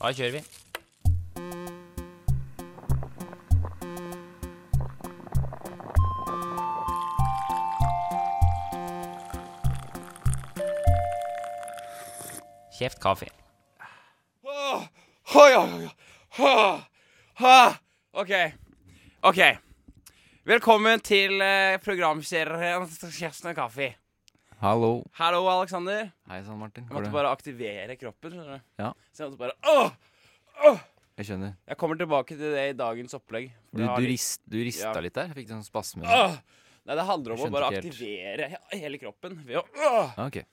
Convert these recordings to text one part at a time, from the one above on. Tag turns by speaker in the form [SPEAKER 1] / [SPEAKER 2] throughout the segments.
[SPEAKER 1] Da kjører vi. Kjeft kaffe.
[SPEAKER 2] Åh, oi, oi, oi, åh, åh. OK. OK. Velkommen til eh, programserien Kjeften og kaffe.
[SPEAKER 3] Hallo.
[SPEAKER 2] Hallo, Aleksander.
[SPEAKER 3] Hei sann, Martin.
[SPEAKER 2] Jeg
[SPEAKER 3] Går
[SPEAKER 2] måtte
[SPEAKER 3] det?
[SPEAKER 2] bare aktivere kroppen. skjønner du?
[SPEAKER 3] Ja.
[SPEAKER 2] Så jeg måtte bare åh!
[SPEAKER 3] Jeg skjønner.
[SPEAKER 2] Jeg kommer tilbake til det i dagens opplegg. for
[SPEAKER 3] Du,
[SPEAKER 2] det har
[SPEAKER 3] du,
[SPEAKER 2] litt-
[SPEAKER 3] rist, du rista
[SPEAKER 2] Ja. Ah!
[SPEAKER 3] litt der. Jeg fikk sånn spasme. i meg.
[SPEAKER 2] Åh! Nei, det handler om
[SPEAKER 3] Jeg
[SPEAKER 2] å
[SPEAKER 3] skjønte
[SPEAKER 2] bare
[SPEAKER 3] ikke helt.
[SPEAKER 2] aktivere he- hele kroppen ved å åh!
[SPEAKER 3] Ja, ok.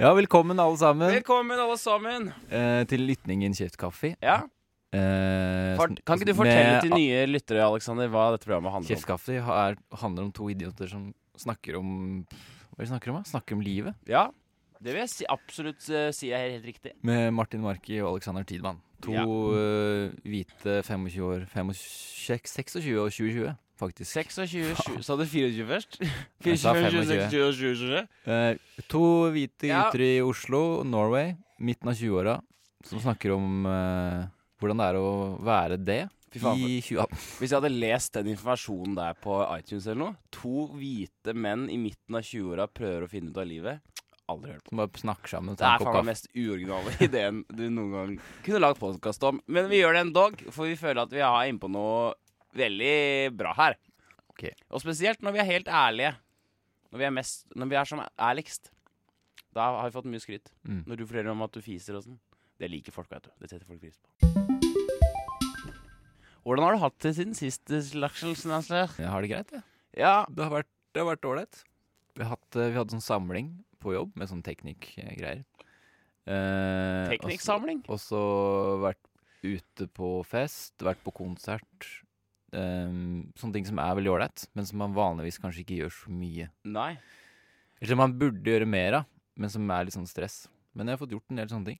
[SPEAKER 3] Ja, velkommen alle sammen
[SPEAKER 2] Velkommen, alle sammen.
[SPEAKER 3] eh, til Lytningen Kjeft kaffe.
[SPEAKER 2] Ja.
[SPEAKER 3] Eh,
[SPEAKER 2] Fort- Kan ikke du fortelle til nye lyttere Alexander, hva dette programmet handler om?
[SPEAKER 3] Kjeft kaffe ha- er, handler om to idioter som snakker om Hva er det de snakker om? da? Snakker om livet.
[SPEAKER 2] Ja, Det vil jeg si, absolutt eh, si er helt riktig.
[SPEAKER 3] Med Martin Marki og Alexander Tidmann. To
[SPEAKER 2] Ja.
[SPEAKER 3] eh, hvite 25 år 25, 26 og 2020, faktisk.
[SPEAKER 2] 26, sju- Sa du 24 først?
[SPEAKER 3] Jeg sa
[SPEAKER 2] 24, 26,
[SPEAKER 3] 25.
[SPEAKER 2] 27, 27.
[SPEAKER 3] Eh, to hvite
[SPEAKER 2] Ja.
[SPEAKER 3] gutter i Oslo, Norway, midten av 20-åra, som snakker om eh, hvordan det er å være det
[SPEAKER 2] Fy faen,
[SPEAKER 3] i 2018.
[SPEAKER 2] Hvis jeg hadde lest den informasjonen der på iTunes eller noe To hvite menn i midten av 20-åra prøver å finne ut av livet. Aldri hørt på.
[SPEAKER 3] Som bare snakker sammen og
[SPEAKER 2] Det
[SPEAKER 3] tar
[SPEAKER 2] er
[SPEAKER 3] en
[SPEAKER 2] faen
[SPEAKER 3] kopp
[SPEAKER 2] meg den
[SPEAKER 3] kaffe.
[SPEAKER 2] mest uoriginale ideen du noen gang kunne lagd podkast om. Men vi gjør det endog, for vi føler at vi har innpå noe veldig bra her.
[SPEAKER 3] Ok.
[SPEAKER 2] Og spesielt når vi er helt ærlige. Når vi er, mest, når vi er som ærligst. Da har vi fått mye skryt.
[SPEAKER 3] Mm.
[SPEAKER 2] Når du forteller om at du fiser og sånn. Det liker folk, vet du. Det setter folk pris på. Hvordan har du hatt det siden sist, Laksel? Snassler?
[SPEAKER 3] Jeg har det greit, jeg.
[SPEAKER 2] Ja,
[SPEAKER 3] Det har vært- det har vært ålreit. Vi, har hatt, eh, vi hadde sånn samling på jobb med sånn teknikkgreier. Uh,
[SPEAKER 2] teknikksamling.
[SPEAKER 3] Og så vært ute på fest, vært på konsert. eh, sånne ting som er veldig ålreit, men som man vanligvis kanskje ikke gjør så mye
[SPEAKER 2] Nei.
[SPEAKER 3] Eller som man burde gjøre mer av, men som er litt sånn stress. Men jeg har fått gjort en del sånne ting.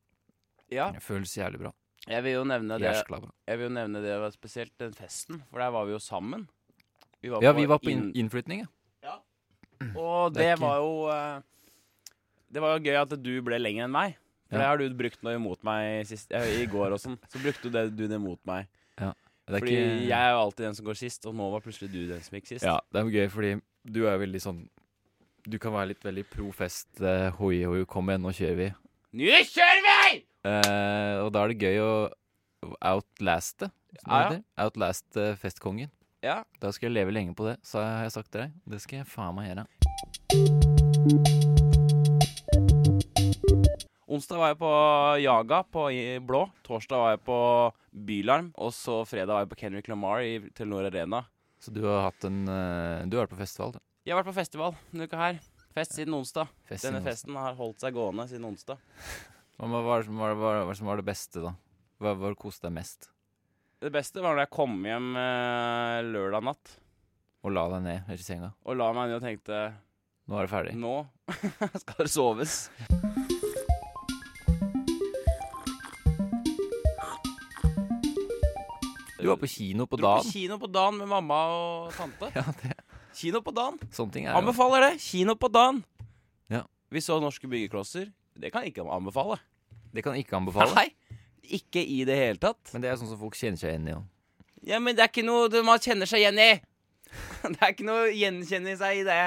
[SPEAKER 2] Ja,
[SPEAKER 3] Det føles jævlig bra.
[SPEAKER 2] jeg vil jo nevne det.
[SPEAKER 3] Jæskla bra.
[SPEAKER 2] Jeg vil jo nevne det var spesielt den festen, for der var vi jo sammen. var
[SPEAKER 3] Ja, vi var på inn innflytning, ja.
[SPEAKER 2] Og
[SPEAKER 3] det
[SPEAKER 2] det
[SPEAKER 3] er ikke-
[SPEAKER 2] var jo eh, Det var jo gøy at du ble lenger enn meg. For
[SPEAKER 3] Ja.
[SPEAKER 2] det har du brukt noe imot meg sist, eh, i går og sånn. Så brukte du det, du det mot meg.
[SPEAKER 3] Det er
[SPEAKER 2] Fordi
[SPEAKER 3] ikke-
[SPEAKER 2] jeg er jo alltid den som går sist, og nå var plutselig du den som gikk sist.
[SPEAKER 3] Ja, det er jo gøy, fordi du er veldig sånn Du kan være litt veldig pro fest. eh, Hoi, hoi, kom igjen, nå kjører vi.
[SPEAKER 2] Nå kjører vi!
[SPEAKER 3] Eh, og da er det gøy å outlaste, som
[SPEAKER 2] Ja, ja.
[SPEAKER 3] det heter. Outlast eh, festkongen.
[SPEAKER 2] Ja.
[SPEAKER 3] Da skal jeg leve lenge på det, så har jeg sagt til deg. Det skal jeg faen meg gjøre.
[SPEAKER 2] Onsdag var jeg på Jaga på i- Blå. Torsdag var jeg på Bylarm. Og så fredag var jeg på Kendrick Lamar i Telenor Arena.
[SPEAKER 3] Så du har hatt en eh, Du har vært på festival, du.
[SPEAKER 2] Jeg har vært på festival denne uka her. Fest siden onsdag.
[SPEAKER 3] Fest i
[SPEAKER 2] Denne
[SPEAKER 3] Nordstrand.
[SPEAKER 2] festen har holdt seg gående siden onsdag.
[SPEAKER 3] Hva hva var det som var, var, var, som var det beste, da? Hva var det koste deg mest?
[SPEAKER 2] Det beste var når jeg kom hjem eh, lørdag natt
[SPEAKER 3] Å la deg ned i senga?
[SPEAKER 2] og la meg ned og tenkte
[SPEAKER 3] Nå er det ferdig.
[SPEAKER 2] Nå skal det soves.
[SPEAKER 3] Du var på kino på
[SPEAKER 2] Dro på
[SPEAKER 3] dagen.
[SPEAKER 2] kino på dagen med mamma og tante.
[SPEAKER 3] Ja, det,
[SPEAKER 2] Kino på dagen.
[SPEAKER 3] sånne ting er jo
[SPEAKER 2] Anbefaler det. Kino på dagen.
[SPEAKER 3] Ja.
[SPEAKER 2] Vi så norske byggeklosser. Det kan jeg ikke anbefale.
[SPEAKER 3] Det kan jeg ikke anbefale.
[SPEAKER 2] Nei. Ikke i det hele tatt.
[SPEAKER 3] Men det er sånn som folk kjenner seg igjen i. da.
[SPEAKER 2] Ja, men det er ikke noe det- man kjenner seg igjen i. Det er ikke noe gjenkjenning seg i det.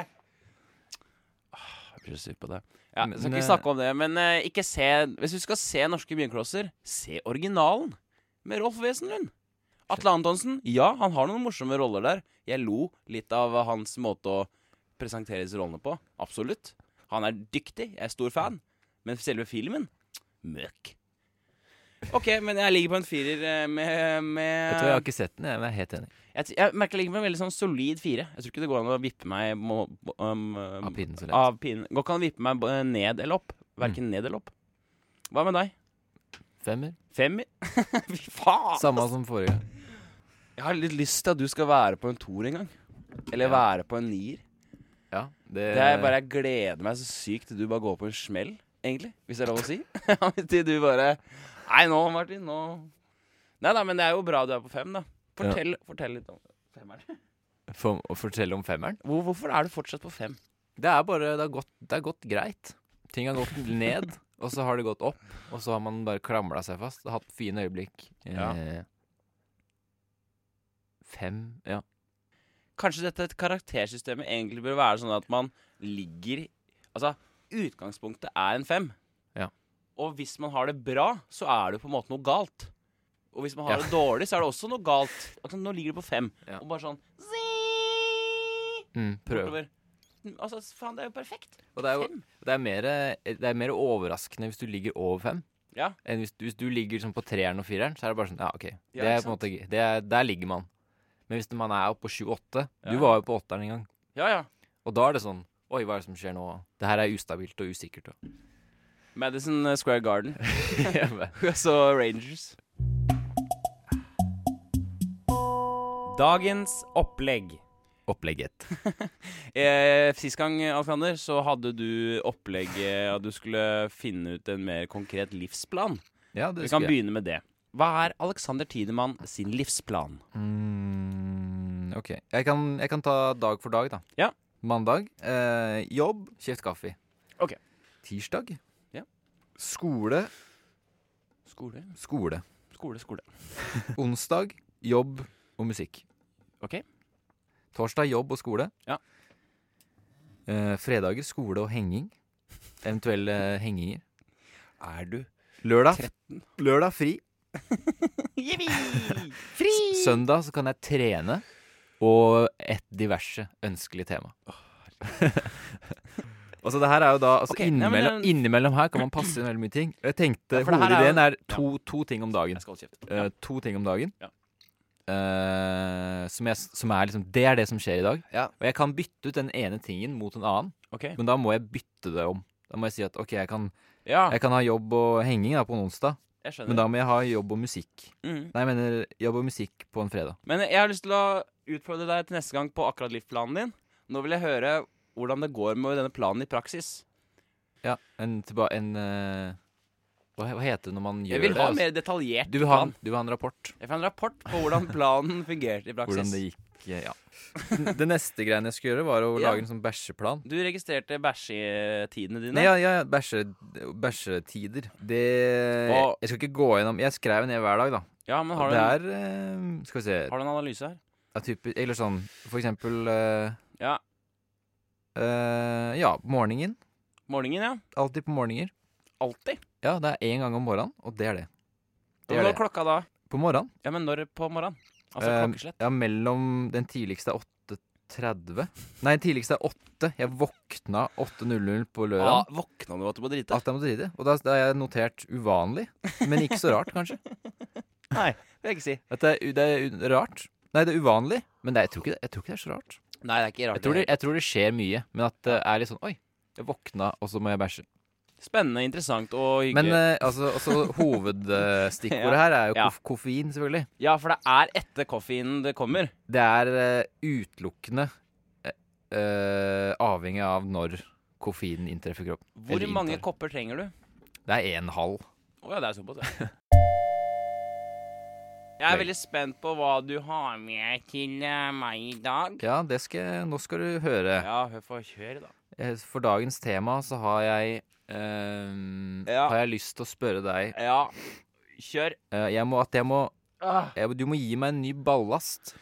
[SPEAKER 3] Ah,
[SPEAKER 2] Jeg blir så sur på det. Ja,
[SPEAKER 3] Men,
[SPEAKER 2] skal ikke
[SPEAKER 3] eh,
[SPEAKER 2] snakke om det, men eh, ikke se Hvis du skal se norske bjørnklosser, se originalen med Rolf Wesenlund. Atle Antonsen, ja, han har noen morsomme roller der. Jeg lo litt av hans måte å presentere disse rollene på. Absolutt. Han er dyktig, jeg er stor fan. Men selve filmen møk. OK, men jeg ligger på en firer eh, med, med
[SPEAKER 3] Vet du hva, Jeg har ikke sett den, jeg, men jeg er helt enig.
[SPEAKER 2] jeg, t- jeg merker jeg ligger på en veldig sånn solid fire. Jeg tror ikke det går an å vippe meg må- må- um, um,
[SPEAKER 3] Av pinnen så lett.
[SPEAKER 2] av pinnen. Går ikke an å vippe meg b- ned eller opp.
[SPEAKER 3] Mm.
[SPEAKER 2] Verken ned eller opp. Hva med deg?
[SPEAKER 3] Femmer.
[SPEAKER 2] Femmer? Fy faen!
[SPEAKER 3] Samme som forrige.
[SPEAKER 2] Jeg har litt lyst til at du skal være på en toer en gang. Eller
[SPEAKER 3] Ja. Eh.
[SPEAKER 2] være på en nier.
[SPEAKER 3] Ja, det,
[SPEAKER 2] Det er bare, jeg gleder meg så sykt til du bare går på en smell, egentlig. Hvis det er lov å si. til du bare Nei, nå, Martin. Nå Nei da, men det er jo bra du er på fem, da. Fortell, fortell litt om femmeren.
[SPEAKER 3] for, Å fortelle om femmeren?
[SPEAKER 2] Hvor, hvorfor er du fortsatt på fem?
[SPEAKER 3] Det er bare Det har gått, det har gått greit. Ting har gått ned. Og så har det gått opp, og så har man bare klamra seg fast. Hatt fine øyeblikk.
[SPEAKER 2] Ja.
[SPEAKER 3] Eh, fem Ja.
[SPEAKER 2] Kanskje dette karaktersystemet egentlig bør være sånn at man ligger Altså, utgangspunktet er en fem.
[SPEAKER 3] Ja.
[SPEAKER 2] Og hvis man har det bra, så er det jo på en måte noe galt. Og hvis man har
[SPEAKER 3] Ja.
[SPEAKER 2] det dårlig, så er det også noe galt. Altså, nå ligger det på fem.
[SPEAKER 3] Ja.
[SPEAKER 2] Og bare sånn
[SPEAKER 3] Mm, prøv.
[SPEAKER 2] bortover. Altså, faen, det er jo perfekt.
[SPEAKER 3] Og det er jo
[SPEAKER 2] Fem.
[SPEAKER 3] det er, mer, det er mer overraskende hvis du ligger over fem.
[SPEAKER 2] Ja.
[SPEAKER 3] Enn hvis, hvis du ligger sånn på treeren og fireren, så er det bare sånn Ja, OK.
[SPEAKER 2] Ja,
[SPEAKER 3] det
[SPEAKER 2] ikke
[SPEAKER 3] er på en måte, det er, der ligger man. Men hvis man er oppe på sju-åtte Du
[SPEAKER 2] Ja.
[SPEAKER 3] var jo på åtteren en gang.
[SPEAKER 2] Ja, ja.
[SPEAKER 3] Og da er det sånn Oi, hva er det som skjer nå? Det her er ustabilt og usikkert. Og.
[SPEAKER 2] Madison eh, Square Garden.
[SPEAKER 3] Jeg bare,
[SPEAKER 2] Så Rangers. Dagens opplegg.
[SPEAKER 3] Opplegget.
[SPEAKER 2] Eh, sist gang, Alexander, så hadde du opplegget at du skulle finne ut en mer konkret livsplan.
[SPEAKER 3] Ja, det
[SPEAKER 2] Vi kan
[SPEAKER 3] husker jeg.
[SPEAKER 2] begynne med det. Hva er Alexander Tidemann sin livsplan?
[SPEAKER 3] Mm, ok. Jeg kan, jeg kan ta dag for dag, da.
[SPEAKER 2] Ja.
[SPEAKER 3] Mandag eh, jobb, kjeft kaffe.
[SPEAKER 2] Ok.
[SPEAKER 3] Tirsdag
[SPEAKER 2] Ja.
[SPEAKER 3] skole,
[SPEAKER 2] Skole,
[SPEAKER 3] skole.
[SPEAKER 2] skole, skole.
[SPEAKER 3] Onsdag jobb og musikk.
[SPEAKER 2] Ok.
[SPEAKER 3] Torsdag jobb og skole.
[SPEAKER 2] Ja.
[SPEAKER 3] Eh, fredager skole og henging. Eventuelle eh, henginger.
[SPEAKER 2] Er du
[SPEAKER 3] Lørdag, lørdag fri.
[SPEAKER 2] Jippi! Fri!
[SPEAKER 3] Søndag så kan jeg trene og et diverse ønskelig tema. altså det her er jo da altså
[SPEAKER 2] Ok, nei, men
[SPEAKER 3] innimellom,
[SPEAKER 2] det-
[SPEAKER 3] innimellom her kan man passe inn veldig mye ting. Jeg tenkte
[SPEAKER 2] Ja, for det her er jo-
[SPEAKER 3] Hovedideen er to, to ting om dagen.
[SPEAKER 2] Jeg skal holde kjeft.
[SPEAKER 3] Eh, to ting om dagen.
[SPEAKER 2] Ja.
[SPEAKER 3] Eh, som, jeg, som er liksom Det er det som skjer i dag.
[SPEAKER 2] Ja.
[SPEAKER 3] Og jeg kan bytte ut den ene tingen mot en annen,
[SPEAKER 2] Ok.
[SPEAKER 3] men da må jeg bytte det om. Da må jeg si at OK, jeg kan,
[SPEAKER 2] Ja,
[SPEAKER 3] jeg kan ha jobb og henging da, på en onsdag,
[SPEAKER 2] jeg Ah. skjønner.
[SPEAKER 3] men da må jeg ha jobb og musikk.
[SPEAKER 2] Mhm.
[SPEAKER 3] Nei, jeg mener jobb og musikk på en fredag.
[SPEAKER 2] Men jeg har lyst til å utfordre deg til neste gang på akkurat livsplanen din. Nå vil jeg høre hvordan det går med denne planen i praksis.
[SPEAKER 3] Ja, en, tilba en eh, hva, hva heter det når man gjør
[SPEAKER 2] Jeg vil
[SPEAKER 3] det?
[SPEAKER 2] ha
[SPEAKER 3] altså?
[SPEAKER 2] mer detaljert
[SPEAKER 3] du, vil ha, en-
[SPEAKER 2] plan.
[SPEAKER 3] du vil ha en rapport.
[SPEAKER 2] Jeg får en rapport på hvordan planen fungerte i praksis.
[SPEAKER 3] Hvordan det gikk. eh, Ja. det neste greiene jeg skulle gjøre, var å
[SPEAKER 2] Ja.
[SPEAKER 3] lage en sånn bæsjeplan.
[SPEAKER 2] Du registrerte bæsjetidene dine.
[SPEAKER 3] Nei, ja, ja, bæsje, bæsjetider. Det
[SPEAKER 2] Og- jeg
[SPEAKER 3] Jeg skal ikke gå gjennom Jeg skrev ned hver dag, da.
[SPEAKER 2] Ja, men har du,
[SPEAKER 3] det
[SPEAKER 2] en,
[SPEAKER 3] er eh, Skal vi se
[SPEAKER 2] har du en analyse her?
[SPEAKER 3] Eller sånn For eksempel eh,
[SPEAKER 2] Ja.
[SPEAKER 3] ja, morgenen.
[SPEAKER 2] Morgenen, ja.
[SPEAKER 3] Alltid på morgener.
[SPEAKER 2] Alltid.
[SPEAKER 3] Ja, det er én gang om morgenen, og det er det. Det
[SPEAKER 2] Når
[SPEAKER 3] er
[SPEAKER 2] går
[SPEAKER 3] det.
[SPEAKER 2] klokka da?
[SPEAKER 3] På morgenen.
[SPEAKER 2] Ja, men når på morgenen? Altså
[SPEAKER 3] Eh,
[SPEAKER 2] klokkeslett.
[SPEAKER 3] Ja, mellom Den tidligste er 8.30. Nei, den tidligste er 8. Jeg våkna 8.00 på
[SPEAKER 2] Ah,
[SPEAKER 3] lørdag.
[SPEAKER 2] våkna du at du må drite?
[SPEAKER 3] At jeg måtte drite. Og da, da har jeg notert uvanlig. Men ikke så rart, kanskje.
[SPEAKER 2] Nei, det vil jeg ikke si.
[SPEAKER 3] At det, er, u- det er u- rart. Nei, det er uvanlig. Men det, er- jeg, tror ikke det, jeg tror ikke det er så rart.
[SPEAKER 2] Nei, det er ikke rart.
[SPEAKER 3] Jeg tror, det,
[SPEAKER 2] det.
[SPEAKER 3] jeg tror det skjer mye, men at det er litt sånn Oi, jeg våkna, og så må jeg bæsje.
[SPEAKER 2] Spennende, interessant og hyggelig.
[SPEAKER 3] Men eh, altså, altså hovedstikkordet her er jo
[SPEAKER 2] Ja.
[SPEAKER 3] kof koffein, selvfølgelig.
[SPEAKER 2] ja, for det er etter koffeinen det kommer.
[SPEAKER 3] Det er eh, utelukkende eh, eh, avhengig av når koffeinen inntreffer kroppen.
[SPEAKER 2] Hvor
[SPEAKER 3] Eller
[SPEAKER 2] mange
[SPEAKER 3] inntar.
[SPEAKER 2] kopper trenger du?
[SPEAKER 3] Det er en halv.
[SPEAKER 2] Å ja, det er såpass, ja. Jeg er veldig spent på hva du har med til eh, meg i dag.
[SPEAKER 3] Ja, det skal, nå skal du høre.
[SPEAKER 2] Ja, hør for kjør, da.
[SPEAKER 3] Eh, For dagens tema så har jeg eh,
[SPEAKER 2] Ja.
[SPEAKER 3] Har jeg lyst til å spørre deg
[SPEAKER 2] Ja, kjør.
[SPEAKER 3] eh, jeg må, At jeg må
[SPEAKER 2] Ah.
[SPEAKER 3] jeg, Du må gi meg en ny ballast.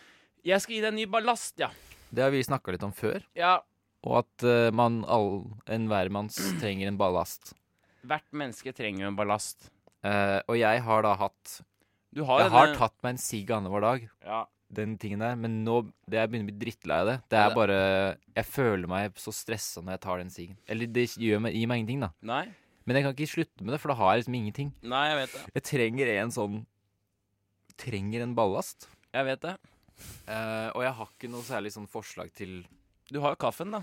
[SPEAKER 2] Jeg skal gi deg en ny ballast, ja.
[SPEAKER 3] Det har vi snakka litt om før.
[SPEAKER 2] ja.
[SPEAKER 3] Og at eh, man all, en hvermanns trenger en ballast.
[SPEAKER 2] Hvert menneske trenger jo en ballast.
[SPEAKER 3] Eh, og jeg har da hatt
[SPEAKER 2] Du har
[SPEAKER 3] Jeg
[SPEAKER 2] denne-
[SPEAKER 3] har tatt meg en sigg annenhver dag,
[SPEAKER 2] ja.
[SPEAKER 3] den tingen der, men nå det jeg begynner å bli drittlei av det. Det er
[SPEAKER 2] Ja.
[SPEAKER 3] bare Jeg føler meg så stressa når jeg tar den siggen. Eller det gjør meg, gir meg ingenting, da.
[SPEAKER 2] Nei,
[SPEAKER 3] Men jeg kan ikke slutte med det, for da har jeg liksom ingenting.
[SPEAKER 2] nei, jeg vet det.
[SPEAKER 3] Jeg trenger en sånn Trenger en ballast.
[SPEAKER 2] Jeg vet det.
[SPEAKER 3] Eh, og jeg har ikke noe særlig sånn forslag til
[SPEAKER 2] Du har jo kaffen, da.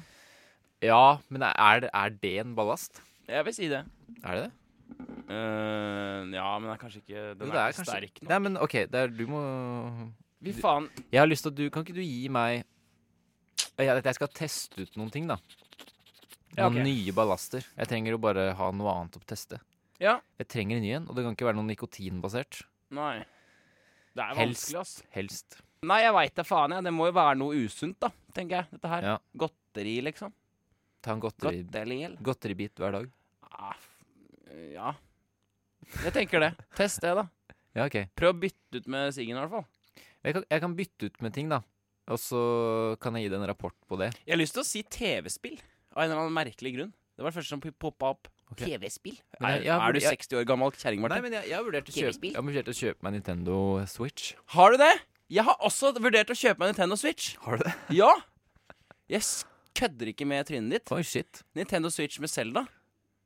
[SPEAKER 3] Ja, men er, det- er det en ballast?
[SPEAKER 2] Jeg vil si det.
[SPEAKER 3] Er det det?
[SPEAKER 2] Eh, ja, men det er kanskje ikke Den
[SPEAKER 3] Jo,
[SPEAKER 2] er,
[SPEAKER 3] det er
[SPEAKER 2] ikke
[SPEAKER 3] kanskje-
[SPEAKER 2] sterk nok.
[SPEAKER 3] Nei, men OK, det er, du må
[SPEAKER 2] Fy faen.
[SPEAKER 3] Jeg har lyst til at du, Kan ikke du gi meg jeg, jeg skal teste ut noen ting, da.
[SPEAKER 2] Ja,
[SPEAKER 3] Noen
[SPEAKER 2] ok.
[SPEAKER 3] nye ballaster. Jeg trenger å bare ha noe annet å teste.
[SPEAKER 2] Ja.
[SPEAKER 3] Jeg trenger en ny en, og det kan ikke være noe nikotinbasert.
[SPEAKER 2] Nei. Det er
[SPEAKER 3] Helst.
[SPEAKER 2] vanskelig, ass.
[SPEAKER 3] Helst.
[SPEAKER 2] Nei, jeg veit da faen, jeg. Det må jo være noe usunt, da, tenker jeg. Dette her.
[SPEAKER 3] Ja.
[SPEAKER 2] Godteri, liksom.
[SPEAKER 3] Ta en godteri,
[SPEAKER 2] Godteri.
[SPEAKER 3] godteribit hver dag.
[SPEAKER 2] Ah, Ja. Jeg tenker det. Test det, da.
[SPEAKER 3] Ja, ok.
[SPEAKER 2] Prøv å bytte ut med Siggen, i hvert fall.
[SPEAKER 3] Jeg kan, jeg kan bytte ut med ting, da. Og så kan jeg gi deg en rapport på det.
[SPEAKER 2] Jeg har lyst til å si TV-spill, av en eller annen merkelig grunn. Det var det første som poppa opp.
[SPEAKER 3] Ok.
[SPEAKER 2] TV-spill?
[SPEAKER 3] Men
[SPEAKER 2] Er,
[SPEAKER 3] jeg- jeg har-
[SPEAKER 2] er du
[SPEAKER 3] jeg-
[SPEAKER 2] 60 år gammel kjerring, Martin?
[SPEAKER 3] men jeg, jeg har vurdert å kjøpe,
[SPEAKER 2] TV-spill?
[SPEAKER 3] jeg har vurdert å kjøpe meg Nintendo Switch.
[SPEAKER 2] Har du det? Jeg har også vurdert å kjøpe meg Nintendo Switch.
[SPEAKER 3] Har du det?
[SPEAKER 2] Ja! Jeg s- kødder ikke med trynet ditt.
[SPEAKER 3] Oi, shit.
[SPEAKER 2] Nintendo Switch med Zelda.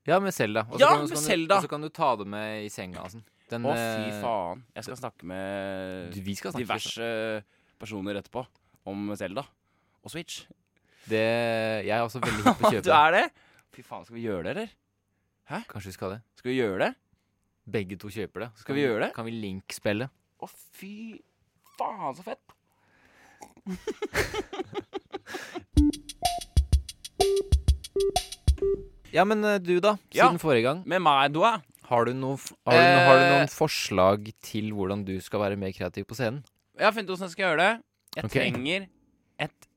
[SPEAKER 3] Ja, med Selda.
[SPEAKER 2] Ja, med Zelda.
[SPEAKER 3] Og så kan du ta det med i senga og sånn. Den,
[SPEAKER 2] Å, fy
[SPEAKER 3] eh,
[SPEAKER 2] faen. Jeg skal snakke med
[SPEAKER 3] du, Vi skal snakke
[SPEAKER 2] diverse personer etterpå om Zelda og Switch.
[SPEAKER 3] Det, jeg er også veldig hypp på å kjøpe.
[SPEAKER 2] Du er det? Fy faen, skal vi gjøre det, eller?
[SPEAKER 3] det. Kanskje vi skal det.
[SPEAKER 2] Skal vi gjøre det?
[SPEAKER 3] Begge to kjøper det. Så
[SPEAKER 2] Skal
[SPEAKER 3] kan
[SPEAKER 2] vi gjøre det?
[SPEAKER 3] Kan vi link-spille?
[SPEAKER 2] Å, fy faen, så fett.
[SPEAKER 3] Ja, men eh, du, da.
[SPEAKER 2] Ja.
[SPEAKER 3] Siden forrige gang.
[SPEAKER 2] Med meg, du, ja.
[SPEAKER 3] Har du, noe, f- har, du, no- har du
[SPEAKER 2] Eh.
[SPEAKER 3] noen forslag til hvordan du skal være mer kreativ på scenen?
[SPEAKER 2] Jeg har funnet ut hvordan jeg skal gjøre det. Jeg
[SPEAKER 3] Ok.
[SPEAKER 2] trenger et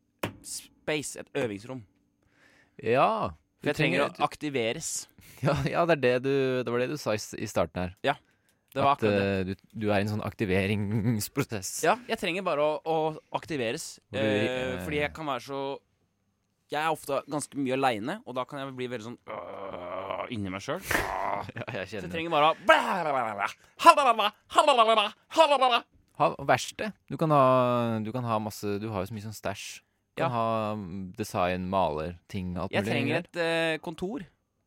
[SPEAKER 2] space, et øvingsrom.
[SPEAKER 3] Ja.
[SPEAKER 2] For jeg trenger å aktiveres.
[SPEAKER 3] Ja, ja det, er det, du, det var det du sa i, s- i starten her.
[SPEAKER 2] Det var
[SPEAKER 3] at
[SPEAKER 2] akkurat det.
[SPEAKER 3] eh, Du, du er i en sånn aktiveringsprosess.
[SPEAKER 2] Ja, jeg trenger bare å, å aktiveres.
[SPEAKER 3] Hvor du-
[SPEAKER 2] Eh,
[SPEAKER 3] eh,
[SPEAKER 2] fordi jeg kan være så Jeg er ofte ganske mye aleine, og da kan jeg bli veldig sånn øh, inni meg sjøl. Så
[SPEAKER 3] Ja, jeg
[SPEAKER 2] jeg
[SPEAKER 3] kjenner det.
[SPEAKER 2] trenger bare å blablabla, halalala, halalala, halalala.
[SPEAKER 3] Ha verksted. Du kan ha, du kan ha masse Du har jo så mye sånn stæsj. Du
[SPEAKER 2] Ja.
[SPEAKER 3] kan ha mm, design, maler, ting, alt
[SPEAKER 2] Jeg trenger
[SPEAKER 3] greier.
[SPEAKER 2] et eh, kontor.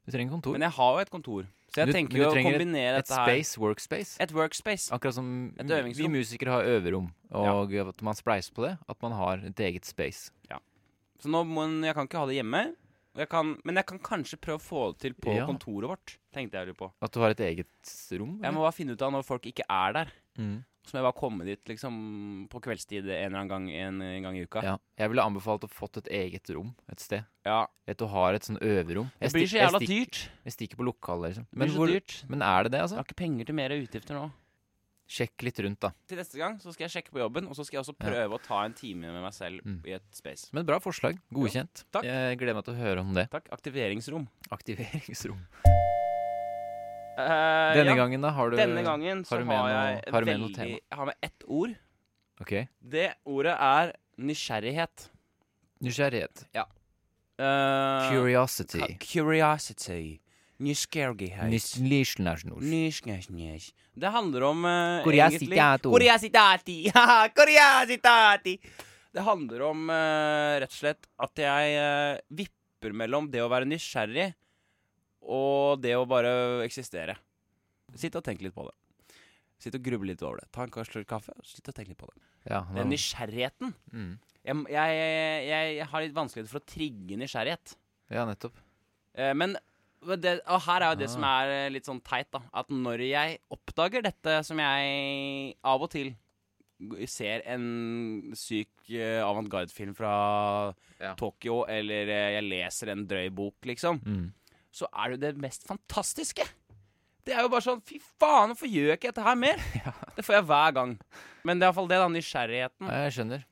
[SPEAKER 3] Du trenger kontor.
[SPEAKER 2] Men jeg har jo et kontor. Så jeg
[SPEAKER 3] Du-
[SPEAKER 2] tenker
[SPEAKER 3] men du
[SPEAKER 2] jo å
[SPEAKER 3] trenger et-
[SPEAKER 2] kombinere
[SPEAKER 3] Et
[SPEAKER 2] dette her.
[SPEAKER 3] space, workspace.
[SPEAKER 2] Et workspace.
[SPEAKER 3] Akkurat som
[SPEAKER 2] Et
[SPEAKER 3] vi- vi
[SPEAKER 2] øvingsrom.
[SPEAKER 3] musikere har øverom, og at man spleiser på det. At man har et eget space.
[SPEAKER 2] Så nå må en, jeg kan ikke ha det hjemme. Og jeg kan, men jeg kan kanskje prøve å få det til på
[SPEAKER 3] Ja.
[SPEAKER 2] kontoret vårt. Tenkte jeg litt på.
[SPEAKER 3] At du har et eget rom.
[SPEAKER 2] Jeg må bare finne ut av når folk ikke er der.
[SPEAKER 3] eller? mm.
[SPEAKER 2] Så må jeg bare komme dit liksom på kveldstid en eller annen gang, en, en gang i uka.
[SPEAKER 3] ja. Jeg ville anbefalt å fått et eget rom et sted.
[SPEAKER 2] Ja.
[SPEAKER 3] At du har et sånn øverom.
[SPEAKER 2] Det
[SPEAKER 3] Jeg
[SPEAKER 2] blir
[SPEAKER 3] stikk-
[SPEAKER 2] så
[SPEAKER 3] jeg
[SPEAKER 2] jævla
[SPEAKER 3] stikk-
[SPEAKER 2] dyrt.
[SPEAKER 3] Jeg stikker på lokalet, liksom.
[SPEAKER 2] Det blir
[SPEAKER 3] Men,
[SPEAKER 2] så
[SPEAKER 3] hvor,
[SPEAKER 2] dyrt.
[SPEAKER 3] men er det det,
[SPEAKER 2] Jeg
[SPEAKER 3] altså?
[SPEAKER 2] har ikke penger til mer utgifter nå.
[SPEAKER 3] Sjekk litt rundt, da.
[SPEAKER 2] Til neste gang så skal jeg sjekke på jobben, og så skal jeg også prøve å ta en time med meg selv
[SPEAKER 3] Mm.
[SPEAKER 2] i et space.
[SPEAKER 3] Men bra forslag. Godkjent.
[SPEAKER 2] takk.
[SPEAKER 3] Jeg gleder meg til å høre om det.
[SPEAKER 2] Takk. Aktiveringsrom.
[SPEAKER 3] Aktiveringsrom.
[SPEAKER 2] Eh,
[SPEAKER 3] Denne
[SPEAKER 2] ja.
[SPEAKER 3] gangen, da? Har du
[SPEAKER 2] Denne gangen så har,
[SPEAKER 3] har du med noe-
[SPEAKER 2] jeg et
[SPEAKER 3] har du med noe
[SPEAKER 2] veldig
[SPEAKER 3] tema?
[SPEAKER 2] Jeg har med ett ord.
[SPEAKER 3] Ok.
[SPEAKER 2] Det ordet er nysgjerrighet.
[SPEAKER 3] Nysgjerrighet.
[SPEAKER 2] Eh,
[SPEAKER 3] Curiosity.
[SPEAKER 2] ka- curiosity. Nysgjerrighet.
[SPEAKER 3] Nysgjerrighet.
[SPEAKER 2] Nysgjerrighet. Det handler om eh,
[SPEAKER 3] Curiosity
[SPEAKER 2] egentlig-
[SPEAKER 3] er et ord.
[SPEAKER 2] Curiosity. Haha, Curiosity. Det handler om eh, rett og slett at jeg eh, vipper mellom det å være nysgjerrig og det å bare eksistere. Sitt og tenk litt på det. Sitt og gruble litt over det. Ta en slurk kaffe, og sitt og tenk litt på det.
[SPEAKER 3] Ja,
[SPEAKER 2] Det er
[SPEAKER 3] nå-
[SPEAKER 2] nysgjerrigheten.
[SPEAKER 3] mm.
[SPEAKER 2] Jeg, jeg, jeg, jeg har litt vanskeligheter for å trigge nysgjerrighet.
[SPEAKER 3] ja, nettopp.
[SPEAKER 2] Eh, Men det, og her er jo det
[SPEAKER 3] Ah.
[SPEAKER 2] som er eh, litt sånn teit, da. At når jeg oppdager dette som jeg av og til g- ser en syk eh, avantgarde-film fra
[SPEAKER 3] Ja.
[SPEAKER 2] Tokyo, eller eh, jeg leser en drøy bok, liksom,
[SPEAKER 3] Mm.
[SPEAKER 2] så er det jo det mest fantastiske. Det er jo bare sånn Fy faen, hvorfor gjør jeg ikke dette her mer? Det får jeg hver gang. Men det er iallfall det, da. Nysgjerrigheten.
[SPEAKER 3] Ja, jeg skjønner.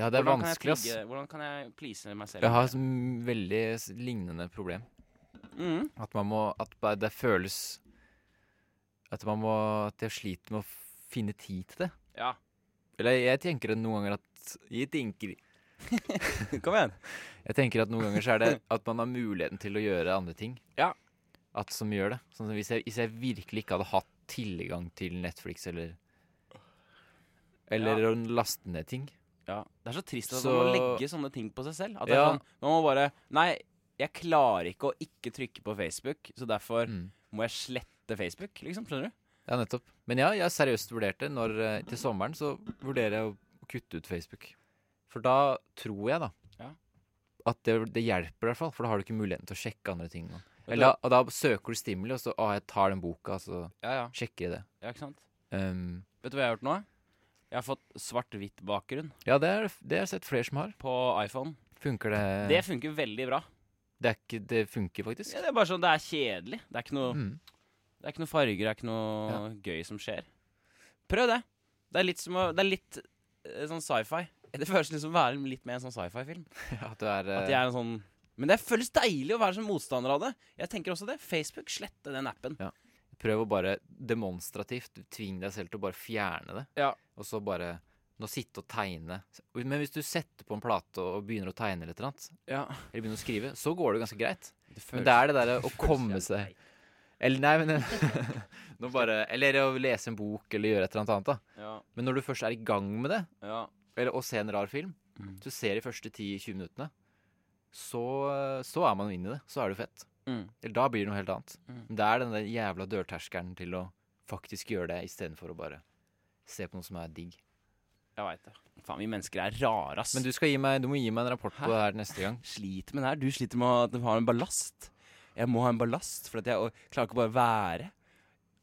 [SPEAKER 3] Ja, det er
[SPEAKER 2] Hvordan kan jeg
[SPEAKER 3] vanskelig, ass.
[SPEAKER 2] trigge- Hvordan kan jeg please meg selv?
[SPEAKER 3] Jeg har et m- veldig s- lignende problem.
[SPEAKER 2] Mm.
[SPEAKER 3] At man må At ba- det føles At man må At jeg sliter med å f- finne tid til det.
[SPEAKER 2] Ja.
[SPEAKER 3] Eller jeg tenker at noen ganger at Jeg tenker
[SPEAKER 2] Kom igjen.
[SPEAKER 3] Jeg tenker at noen ganger så er det at man har muligheten til å gjøre andre ting.
[SPEAKER 2] Ja.
[SPEAKER 3] At som gjør det. Sånn som hvis jeg, hvis jeg virkelig ikke hadde hatt tilgang til Netflix eller Eller å laste ned ting.
[SPEAKER 2] Ja. Det er så trist at
[SPEAKER 3] Så-
[SPEAKER 2] man må legge sånne ting på seg selv. At det
[SPEAKER 3] Ja.
[SPEAKER 2] er sånn, man må bare Nei, jeg klarer ikke å ikke trykke på Facebook, så derfor
[SPEAKER 3] Mm.
[SPEAKER 2] må jeg slette Facebook, liksom. Skjønner du?
[SPEAKER 3] Ja, nettopp. Men ja, jeg har seriøst vurdert det. Når, eh, til sommeren så vurderer jeg å kutte ut Facebook. For da tror jeg, da,
[SPEAKER 2] Ja.
[SPEAKER 3] at det, det hjelper i hvert fall. For da har du ikke muligheten til å sjekke andre ting. nå. Eller, da- og da søker du stimuli, og så ah, jeg tar den boka, og så
[SPEAKER 2] Ja, ja.
[SPEAKER 3] sjekker jeg det.
[SPEAKER 2] ja ikke sant?
[SPEAKER 3] Um,
[SPEAKER 2] Vet du hva jeg har gjort nå? Jeg har fått svart-hvitt bakgrunn
[SPEAKER 3] ja, det er- det har jeg sett flere som har.
[SPEAKER 2] på iPhone.
[SPEAKER 3] Funker det
[SPEAKER 2] Det funker veldig bra.
[SPEAKER 3] Det, er ikke, det funker faktisk.
[SPEAKER 2] Ja, det er bare sånn, det er kjedelig. Det er ikke noe,
[SPEAKER 3] Mm.
[SPEAKER 2] det er ikke noe farger, det er ikke noe gøy som skjer. Prøv det. Det er litt som å Det er litt eh, sånn sci-fi. Det føles litt som å være litt med i en sånn sci-fi-film.
[SPEAKER 3] At du er,
[SPEAKER 2] At jeg er en sånn Men det føles deilig å være som motstander av det. Jeg tenker også det. Facebook, slette den appen.
[SPEAKER 3] Prøv å bare demonstrativt tvinge deg selv til å bare fjerne det.
[SPEAKER 2] Ja.
[SPEAKER 3] Og så bare nå sitte og tegne. Men hvis du setter på en plate og begynner å tegne litt, eller
[SPEAKER 2] Ja.
[SPEAKER 3] begynner å skrive, så går det jo ganske greit.
[SPEAKER 2] Det
[SPEAKER 3] Men det er det derre å komme seg Eller nei, men nå bare, Eller å lese en bok eller gjøre et eller annet annet. da
[SPEAKER 2] Ja,
[SPEAKER 3] Men når du først er i gang med det,
[SPEAKER 2] ja.
[SPEAKER 3] eller å se en rar film,
[SPEAKER 2] Mm.
[SPEAKER 3] du ser de første 10-20 minuttene, så, så er man jo inne i det. Så er det jo fett.
[SPEAKER 2] Mm.
[SPEAKER 3] Eller da blir det noe helt annet.
[SPEAKER 2] Mm.
[SPEAKER 3] Men det er den der jævla dørterskelen til å faktisk gjøre det, istedenfor å bare se på noe som er digg.
[SPEAKER 2] Jeg veit det. Faen, vi mennesker er rare, ass.
[SPEAKER 3] Men du, skal gi meg, du må gi meg en rapport på det her neste gang.
[SPEAKER 2] sliter med det her. Du sliter med at du har en ballast. Jeg må ha en ballast, for at jeg og- klarer ikke bare å være.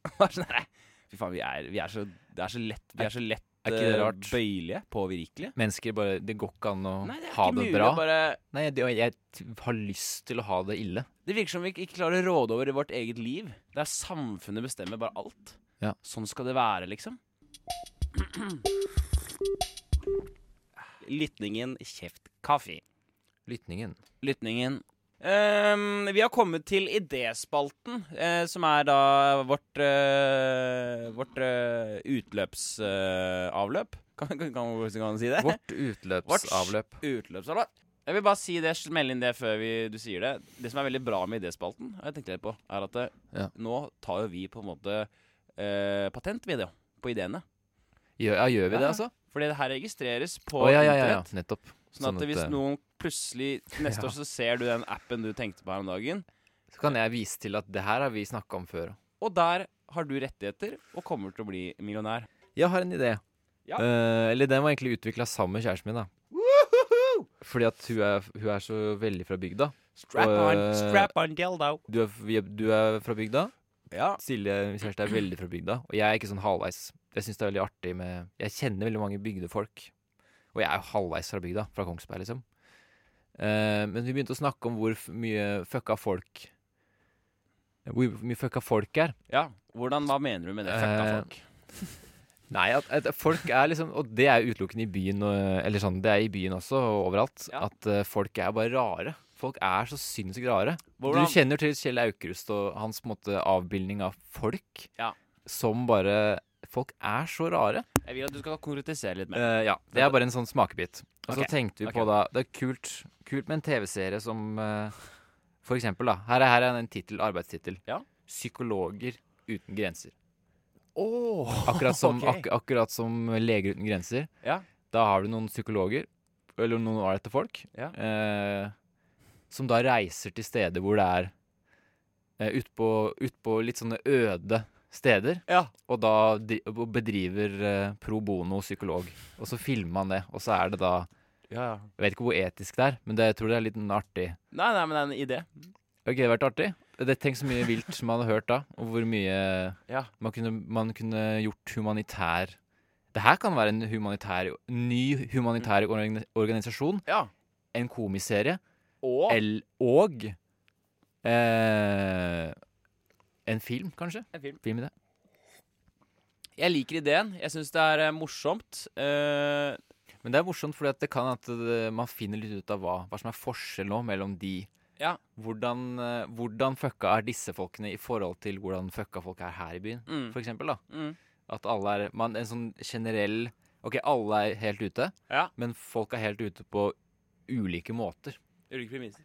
[SPEAKER 2] Bare sånn, nei, Fy faen, vi er, vi er, så, det er så lett Vi er så lett
[SPEAKER 3] Er ikke det
[SPEAKER 2] eh,
[SPEAKER 3] rart?
[SPEAKER 2] bøyelige, påvirkelige.
[SPEAKER 3] Mennesker bare Det går ikke an å
[SPEAKER 2] Nei, det er
[SPEAKER 3] ha
[SPEAKER 2] ikke
[SPEAKER 3] det
[SPEAKER 2] mulig
[SPEAKER 3] bra.
[SPEAKER 2] å bare
[SPEAKER 3] Nei, jeg, jeg t- har lyst til å ha det ille.
[SPEAKER 2] Det virker som vi ikke klarer å råde over i vårt eget liv. Der samfunnet bestemmer bare alt.
[SPEAKER 3] Ja.
[SPEAKER 2] Sånn skal det være, liksom. Lytningen Kjeft kaffe.
[SPEAKER 3] Lytningen.
[SPEAKER 2] lytningen. Ehm, vi har kommet til idéspalten, eh, som er da vårt, eh, vårt utløpsavløp. kan, kan, kan, hvordan kan man si det?
[SPEAKER 3] Vårt utløpsavløp.
[SPEAKER 2] Utløpsavløp. Jeg vil bare si det, smelle inn det før vi, du sier det. Det som er veldig bra med idéspalten, har jeg tenkte litt på, er at eh,
[SPEAKER 3] Ja.
[SPEAKER 2] nå tar jo vi på en måte eh, patent vi det, på ideene.
[SPEAKER 3] Gjør, ja, gjør vi det,
[SPEAKER 2] Ja.
[SPEAKER 3] altså?
[SPEAKER 2] Fordi det her registreres på
[SPEAKER 3] Å ja, ja, ja, ja.
[SPEAKER 2] internett.
[SPEAKER 3] Nettopp.
[SPEAKER 2] Sånn at hvis
[SPEAKER 3] eh,
[SPEAKER 2] noen plutselig neste
[SPEAKER 3] Ja.
[SPEAKER 2] år så ser du den appen du tenkte på her om dagen,
[SPEAKER 3] Så kan jeg vise til at det her har vi snakka om før.
[SPEAKER 2] Og der har du rettigheter og kommer til å bli millionær.
[SPEAKER 3] Jeg har en idé.
[SPEAKER 2] Ja.
[SPEAKER 3] Eh, eller den var egentlig utvikla sammen med kjæresten min. da Fordi at hun er, hun er så veldig fra bygda.
[SPEAKER 2] Strap
[SPEAKER 3] on,
[SPEAKER 2] on,
[SPEAKER 3] strap
[SPEAKER 2] strap on dildo.
[SPEAKER 3] Du er, vi er- du er fra bygda.
[SPEAKER 2] Ja.
[SPEAKER 3] Silje, min kjæreste, er veldig fra bygda. Og jeg er ikke sånn halvveis. Jeg synes det er veldig artig med Jeg kjenner veldig mange bygdefolk. Og jeg er jo halvveis fra bygda, fra Kongsberg, liksom. Eh, men vi begynte å snakke om hvor f mye fucka folk Hvor mye fucka folk er.
[SPEAKER 2] ja. Hvordan, hva mener du med det? Fucka
[SPEAKER 3] Eh,
[SPEAKER 2] folk.
[SPEAKER 3] Nei, at, at folk er liksom Og det er utelukkende i byen, og, eller sånn, det er i byen også, og overalt.
[SPEAKER 2] Ja.
[SPEAKER 3] At eh, folk er bare rare. Folk er så sinnssykt rare.
[SPEAKER 2] Hvordan,
[SPEAKER 3] Du kjenner til Kjell Aukrust og hans på en måte avbildning av folk
[SPEAKER 2] Ja.
[SPEAKER 3] som bare Folk er så rare.
[SPEAKER 2] jeg vil at du skal konkretisere litt mer.
[SPEAKER 3] Eh, ja, Det er bare en sånn smakebit. Og så
[SPEAKER 2] Ok,
[SPEAKER 3] tenkte vi
[SPEAKER 2] ok.
[SPEAKER 3] på da Det er kult, kult med en TV-serie som eh, For eksempel, da. Her er, her er en tittel, arbeidstittel.
[SPEAKER 2] Ja.
[SPEAKER 3] 'Psykologer uten grenser'.
[SPEAKER 2] Oh,
[SPEAKER 3] Akkurat som,
[SPEAKER 2] ok.
[SPEAKER 3] ak akkurat som Leger uten grenser.
[SPEAKER 2] Ja.
[SPEAKER 3] Da har du noen psykologer, eller noen år etter folk,
[SPEAKER 2] Ja.
[SPEAKER 3] eh, som da reiser til steder hvor det er eh, utpå ut på litt sånne øde steder,
[SPEAKER 2] Ja.
[SPEAKER 3] og da dri- og bedriver eh, pro bono psykolog. Og så filmer han det, og så er det da
[SPEAKER 2] ja.
[SPEAKER 3] Jeg vet ikke hvor etisk det er, men det, jeg tror det er litt artig.
[SPEAKER 2] Nei, nei, men det er en idé.
[SPEAKER 3] Ok, det har vært artig. Det Tenk så mye vilt som man har hørt da, og hvor mye
[SPEAKER 2] Ja.
[SPEAKER 3] man kunne, man kunne gjort humanitær Det her kan være en humanitær, ny humanitær
[SPEAKER 2] Mm.
[SPEAKER 3] organ- organisasjon.
[SPEAKER 2] ja.
[SPEAKER 3] En komiserie.
[SPEAKER 2] Og
[SPEAKER 3] el- og eh, en film, kanskje?
[SPEAKER 2] en film.
[SPEAKER 3] Film i det.
[SPEAKER 2] Jeg liker ideen. Jeg syns det er eh, morsomt. Eh,
[SPEAKER 3] Men det er morsomt, fordi at det kan at det, man finner litt ut av hva, hva som er forskjellen nå mellom de.
[SPEAKER 2] Ja.
[SPEAKER 3] Hvordan, eh, hvordan fucka er disse folkene i forhold til hvordan fucka folk er her i byen,
[SPEAKER 2] mm,
[SPEAKER 3] for eksempel, da.
[SPEAKER 2] mm.
[SPEAKER 3] At alle er man, En sånn generell Ok, alle er helt ute,
[SPEAKER 2] Ja.
[SPEAKER 3] men folk er helt ute på ulike måter.
[SPEAKER 2] Ulike premisser.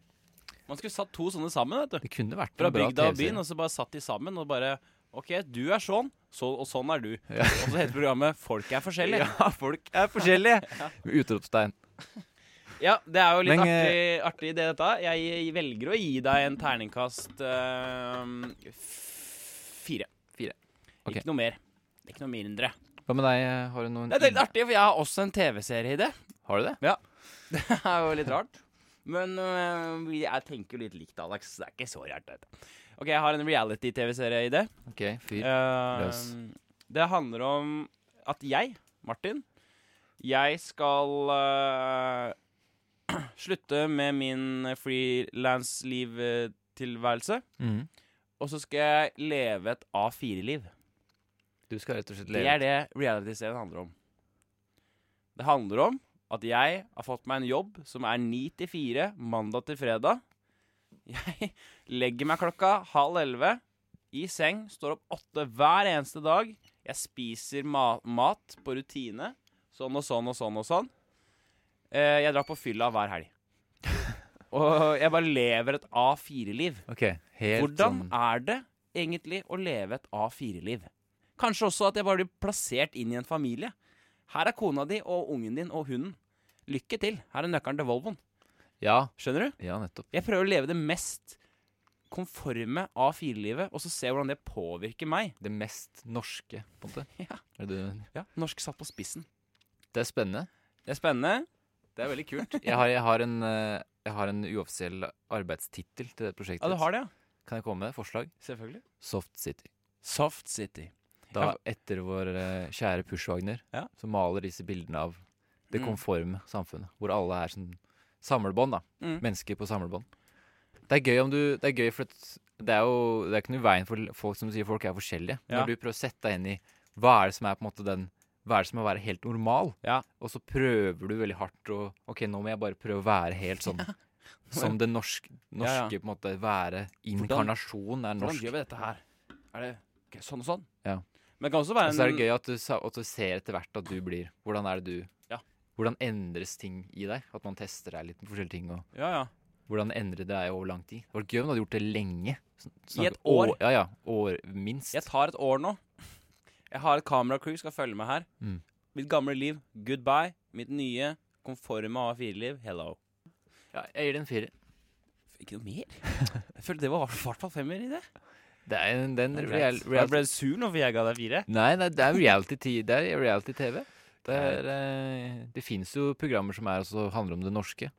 [SPEAKER 2] Man skulle satt to sånne sammen, vet du.
[SPEAKER 3] Det kunne vært
[SPEAKER 2] Fra
[SPEAKER 3] en bra
[SPEAKER 2] bygda og
[SPEAKER 3] TV-serie.
[SPEAKER 2] byen, og så bare satt de sammen og bare OK, du er sånn, så, og sånn er du.
[SPEAKER 3] Ja.
[SPEAKER 2] Og så heter programmet Folk er forskjellige.
[SPEAKER 3] Ja, folk er forskjellige! Med Utropstegn.
[SPEAKER 2] Ja, det er jo litt
[SPEAKER 3] Men, eh,
[SPEAKER 2] artig, artig idé, dette. Jeg velger å gi deg en terningkast eh, f- fire.
[SPEAKER 3] Fire. Ok.
[SPEAKER 2] Ikke noe mer. Det er ikke noe mindre.
[SPEAKER 3] Hva med deg? eh, Har du noen
[SPEAKER 2] Det er litt artig, for jeg har også en TV-serieidé.
[SPEAKER 3] Har du det?
[SPEAKER 2] Det er jo litt rart. Men øh, jeg tenker jo litt likt, Alex. Det er ikke så rart, dette. OK, jeg har en reality-TV-serieidé.
[SPEAKER 3] Ok, fyr.
[SPEAKER 2] Eh,
[SPEAKER 3] Løs.
[SPEAKER 2] det handler om at jeg, Martin, jeg skal eh, slutte med min frilansliv-tilværelse.
[SPEAKER 3] Mhm.
[SPEAKER 2] Og så skal jeg leve et A4-liv.
[SPEAKER 3] Du skal rett og slett
[SPEAKER 2] Det
[SPEAKER 3] leve.
[SPEAKER 2] er det reality-serien handler om. Det handler om at jeg har fått meg en jobb som er 9 til 4 mandag til fredag. Jeg legger meg klokka halv elleve i seng, står opp åtte hver eneste dag. Jeg spiser ma mat på rutine. Sånn og sånn og sånn og sånn. Eh, jeg drar på fylla hver helg. Og jeg bare lever et A4-liv.
[SPEAKER 3] Ok, helt
[SPEAKER 2] Hvordan
[SPEAKER 3] sånn
[SPEAKER 2] er det egentlig å leve et A4-liv? Kanskje også at jeg bare blir plassert inn i en familie. Her er kona di og ungen din og hunden. Lykke til. Her er nøkkelen til Volvoen.
[SPEAKER 3] Ja,
[SPEAKER 2] Skjønner du?
[SPEAKER 3] ja, nettopp.
[SPEAKER 2] Jeg prøver å leve det mest konforme A4-livet, og så se hvordan det påvirker meg.
[SPEAKER 3] Det mest norske, på en måte.
[SPEAKER 2] Ja.
[SPEAKER 3] Er det,
[SPEAKER 2] Ja, Norsk satt på spissen.
[SPEAKER 3] det er spennende.
[SPEAKER 2] Det er spennende. Det er veldig kult.
[SPEAKER 3] Jeg har, jeg har, en, eh, jeg har en uoffisiell arbeidstittel til det prosjektet.
[SPEAKER 2] Ja, du har det, ja?
[SPEAKER 3] Kan jeg komme med et forslag?
[SPEAKER 2] Selvfølgelig.
[SPEAKER 3] Soft City.
[SPEAKER 2] Soft City.
[SPEAKER 3] Da,
[SPEAKER 2] Ja.
[SPEAKER 3] etter vår eh, kjære Pushwagner,
[SPEAKER 2] Ja.
[SPEAKER 3] så maler disse bildene av det
[SPEAKER 2] Mm.
[SPEAKER 3] konforme samfunnet. Hvor alle er sånn samlebånd, da.
[SPEAKER 2] Mm.
[SPEAKER 3] Mennesker på samlebånd. Det er gøy om du Det er gøy, for at det er jo det er ikke noe i veien for folk som du sier folk er forskjellige.
[SPEAKER 2] Ja.
[SPEAKER 3] Når du prøver å sette deg inn i hva er det som er på en måte den Hva er det som er å være helt normal,
[SPEAKER 2] Ja.
[SPEAKER 3] og så prøver du veldig hardt å OK, nå må jeg bare prøve å være helt sånn. Som det norske,
[SPEAKER 2] Ja, ja.
[SPEAKER 3] norske på en måte Være inkarnasjon er
[SPEAKER 2] Hvordan
[SPEAKER 3] norsk.
[SPEAKER 2] gjør vi dette her? Er det ok, sånn og sånn?
[SPEAKER 3] Ja.
[SPEAKER 2] Men det kan også være
[SPEAKER 3] Og
[SPEAKER 2] en
[SPEAKER 3] så er det gøy at du, sa- at du ser etter hvert at du blir Hvordan er det du
[SPEAKER 2] Ja.
[SPEAKER 3] Hvordan endres ting i deg? At man tester deg litt på forskjellige ting. Og
[SPEAKER 2] Ja, ja.
[SPEAKER 3] hvordan endre det er jo over lang tid. Det var gøy om du hadde gjort det lenge. Sn- snakke-
[SPEAKER 2] et år.
[SPEAKER 3] Ja, ja. År, minst.
[SPEAKER 2] Jeg tar et år nå. Jeg har et kameracrew skal følge meg her.
[SPEAKER 3] Mm.
[SPEAKER 2] Mitt gamle liv, goodbye. Mitt nye, konforme A4-liv, hello.
[SPEAKER 3] Ja, jeg gir det en firer.
[SPEAKER 2] Ikke noe mer? Jeg følte det var i hvert fall femmer i det.
[SPEAKER 3] Det er en den
[SPEAKER 2] Det er
[SPEAKER 3] real,
[SPEAKER 2] greit. Jeg
[SPEAKER 3] real,
[SPEAKER 2] ble sur nå, for jeg ga deg fire.
[SPEAKER 3] Nei, nei, det er reality-TV. Det er reality-TV. Det, er, eh, det fins jo programmer som er også handler om det norske.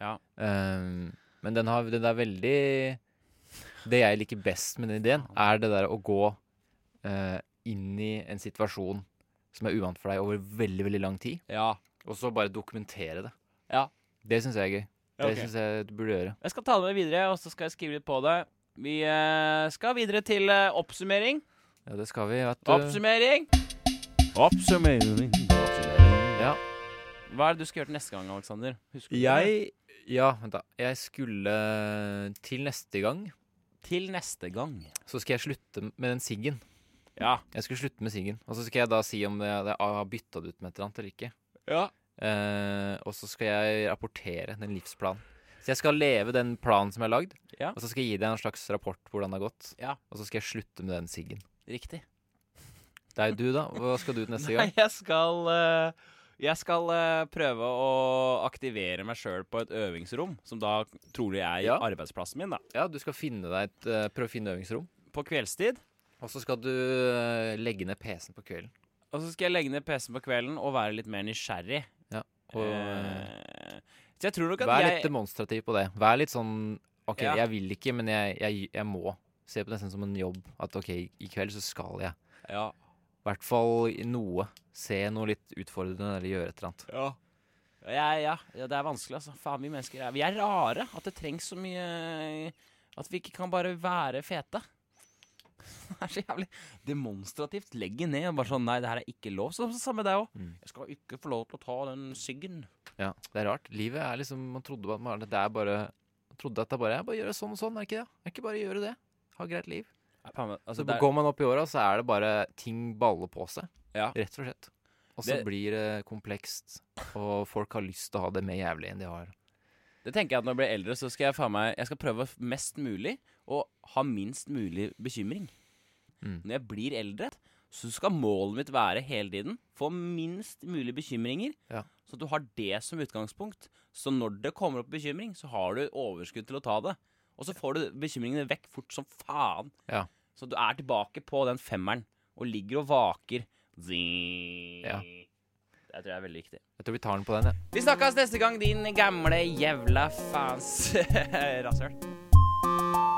[SPEAKER 2] Ja.
[SPEAKER 3] Um, men den, har, den er veldig Det jeg liker best med den ideen, er det der å gå eh, inn i en situasjon som er uvant for deg over veldig veldig lang tid,
[SPEAKER 2] Ja.
[SPEAKER 3] og så bare dokumentere det.
[SPEAKER 2] Ja.
[SPEAKER 3] Det syns jeg er gøy.
[SPEAKER 2] Ja,
[SPEAKER 3] Det
[SPEAKER 2] ok.
[SPEAKER 3] syns jeg du burde gjøre.
[SPEAKER 2] Jeg skal ta det med videre, og så skal jeg skrive litt på det. Vi eh, skal videre til eh, oppsummering.
[SPEAKER 3] Ja, det skal vi. Vet du.
[SPEAKER 2] Oppsummering! Oppsummering.
[SPEAKER 3] Ja.
[SPEAKER 2] Hva er det du skal gjøre til neste gang, Aleksander? Husker du det?
[SPEAKER 3] Jeg Ja, vent, da. Jeg skulle Til neste gang
[SPEAKER 2] Til neste gang.
[SPEAKER 3] så skal jeg slutte med den siggen.
[SPEAKER 2] Ja.
[SPEAKER 3] Jeg skulle slutte med siggen. Og så skal jeg da si om jeg jeg har bytta det ut med et eller annet eller ikke.
[SPEAKER 2] ja.
[SPEAKER 3] Eh, og så skal jeg rapportere den livsplanen. Så jeg skal leve den planen som jeg har lagd,
[SPEAKER 2] Ja.
[SPEAKER 3] og så skal jeg gi deg en slags rapport på hvordan det har gått.
[SPEAKER 2] Ja.
[SPEAKER 3] Og så skal jeg slutte med den siggen.
[SPEAKER 2] Riktig.
[SPEAKER 3] Det er jo du, da. Hva skal du til neste
[SPEAKER 2] Nei,
[SPEAKER 3] gang?
[SPEAKER 2] jeg skal eh, Jeg skal eh, prøve å aktivere meg sjøl på et øvingsrom, som da trolig er i
[SPEAKER 3] Ja.
[SPEAKER 2] arbeidsplassen min, da.
[SPEAKER 3] Ja, du skal finne deg et eh, prøve å finne øvingsrom.
[SPEAKER 2] På kveldstid.
[SPEAKER 3] Og så skal du eh, legge ned PC-en på kvelden.
[SPEAKER 2] Og så skal jeg legge ned PC-en på kvelden og være litt mer nysgjerrig.
[SPEAKER 3] Og eh,
[SPEAKER 2] Eh, så jeg tror nok at
[SPEAKER 3] vær litt
[SPEAKER 2] jeg
[SPEAKER 3] demonstrativ på det. Vær litt sånn OK,
[SPEAKER 2] Ja.
[SPEAKER 3] jeg vil ikke, men jeg, jeg, jeg må. Se på det nesten som en jobb. At OK, i kveld så skal jeg.
[SPEAKER 2] ja,
[SPEAKER 3] I hvert fall i noe. Se noe litt utfordrende eller gjøre et eller annet.
[SPEAKER 2] ja. Ja, ja, ja, det er vanskelig, altså. Faen, vi mennesker er Vi er rare. At det trengs så mye At vi ikke kan bare være fete. Det er så jævlig demonstrativt. Legge ned og bare sånn Nei, det her er ikke lov. Så samme deg òg.
[SPEAKER 3] Mm.
[SPEAKER 2] Jeg skal ikke få lov til å ta den siggen.
[SPEAKER 3] Ja, Det er rart. Livet er liksom Man trodde at man, det er bare man trodde at det bare er bare å gjøre sånn og sånn, er det ikke det? Er det ikke bare å gjøre det? Ha et greit liv.
[SPEAKER 2] Altså,
[SPEAKER 3] så
[SPEAKER 2] det er-
[SPEAKER 3] går man opp i åra, så er det bare ting baller på seg.
[SPEAKER 2] Ja.
[SPEAKER 3] Rett og slett. Og så
[SPEAKER 2] Det-
[SPEAKER 3] blir det komplekst, og folk har lyst til å ha det mer jævlig enn de har.
[SPEAKER 2] Det tenker jeg at når jeg blir eldre, så skal jeg, faen meg, jeg skal prøve mest mulig å ha minst mulig bekymring.
[SPEAKER 3] Mm.
[SPEAKER 2] Når jeg blir eldre, så skal målet mitt være hele tiden få minst mulig bekymringer.
[SPEAKER 3] Ja.
[SPEAKER 2] Så at du har det som utgangspunkt. Så når det kommer opp bekymring, så har du overskudd til å ta det. Og så får du bekymringene vekk fort som faen.
[SPEAKER 3] Ja.
[SPEAKER 2] Så du er tilbake på den femmeren og ligger og vaker. Zing.
[SPEAKER 3] Ja.
[SPEAKER 2] Det tror jeg er veldig viktig.
[SPEAKER 3] Jeg tror vi tar den på den, jeg.
[SPEAKER 2] Vi snakkes neste gang, din gamle jævla faens rasshøl.